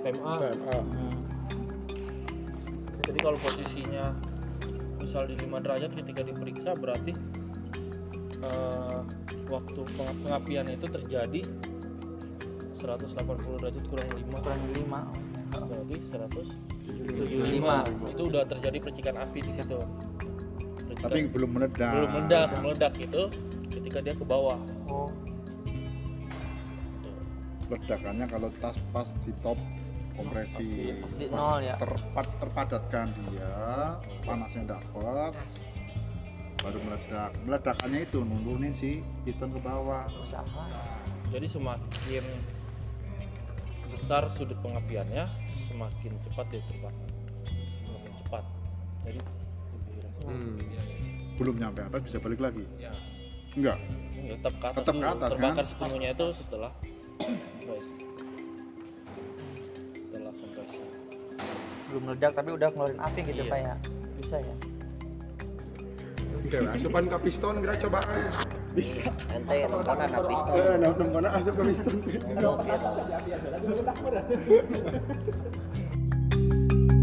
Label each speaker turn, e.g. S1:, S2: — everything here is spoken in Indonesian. S1: PMA.
S2: PMA.
S1: Jadi kalau posisinya misal di 5 derajat ketika diperiksa berarti eh, waktu peng- pengapian itu terjadi 180 derajat kurang 5
S3: kurang lima
S1: berarti 100
S3: tujuh lima
S1: itu udah terjadi percikan api di situ. Percikan
S2: Tapi
S3: Kan.
S2: belum meledak.
S1: belum meledak, meledak itu ketika dia ke bawah.
S3: oh
S2: Ledakannya kalau tas pas di top kompresi
S3: Di
S2: pas
S3: nol ya?
S2: terpa- terpadatkan dia panasnya dapat baru meledak meledakannya itu nurunin si piston ke bawah
S3: usaha
S1: Jadi semakin besar sudut pengapiannya, semakin cepat dia terbakar. Semakin cepat. Jadi lebih res-
S2: belum nyampe atas bisa balik lagi
S3: Ya.
S2: enggak
S1: Ini tetap ke atas,
S2: Tetap ke
S1: dulu.
S2: atas,
S1: terbakar
S2: kan?
S1: sepenuhnya itu setelah kompresi. Setelah kompresi.
S3: belum meledak tapi udah ngeluarin api gitu
S1: Iya.
S3: pak ya bisa ya
S4: Oke, asupan ke piston kita cobaan. Bisa.
S5: Ente yang nempelkan api itu.
S4: Eh, nah, nembana asup ke piston.
S5: Goblok ya.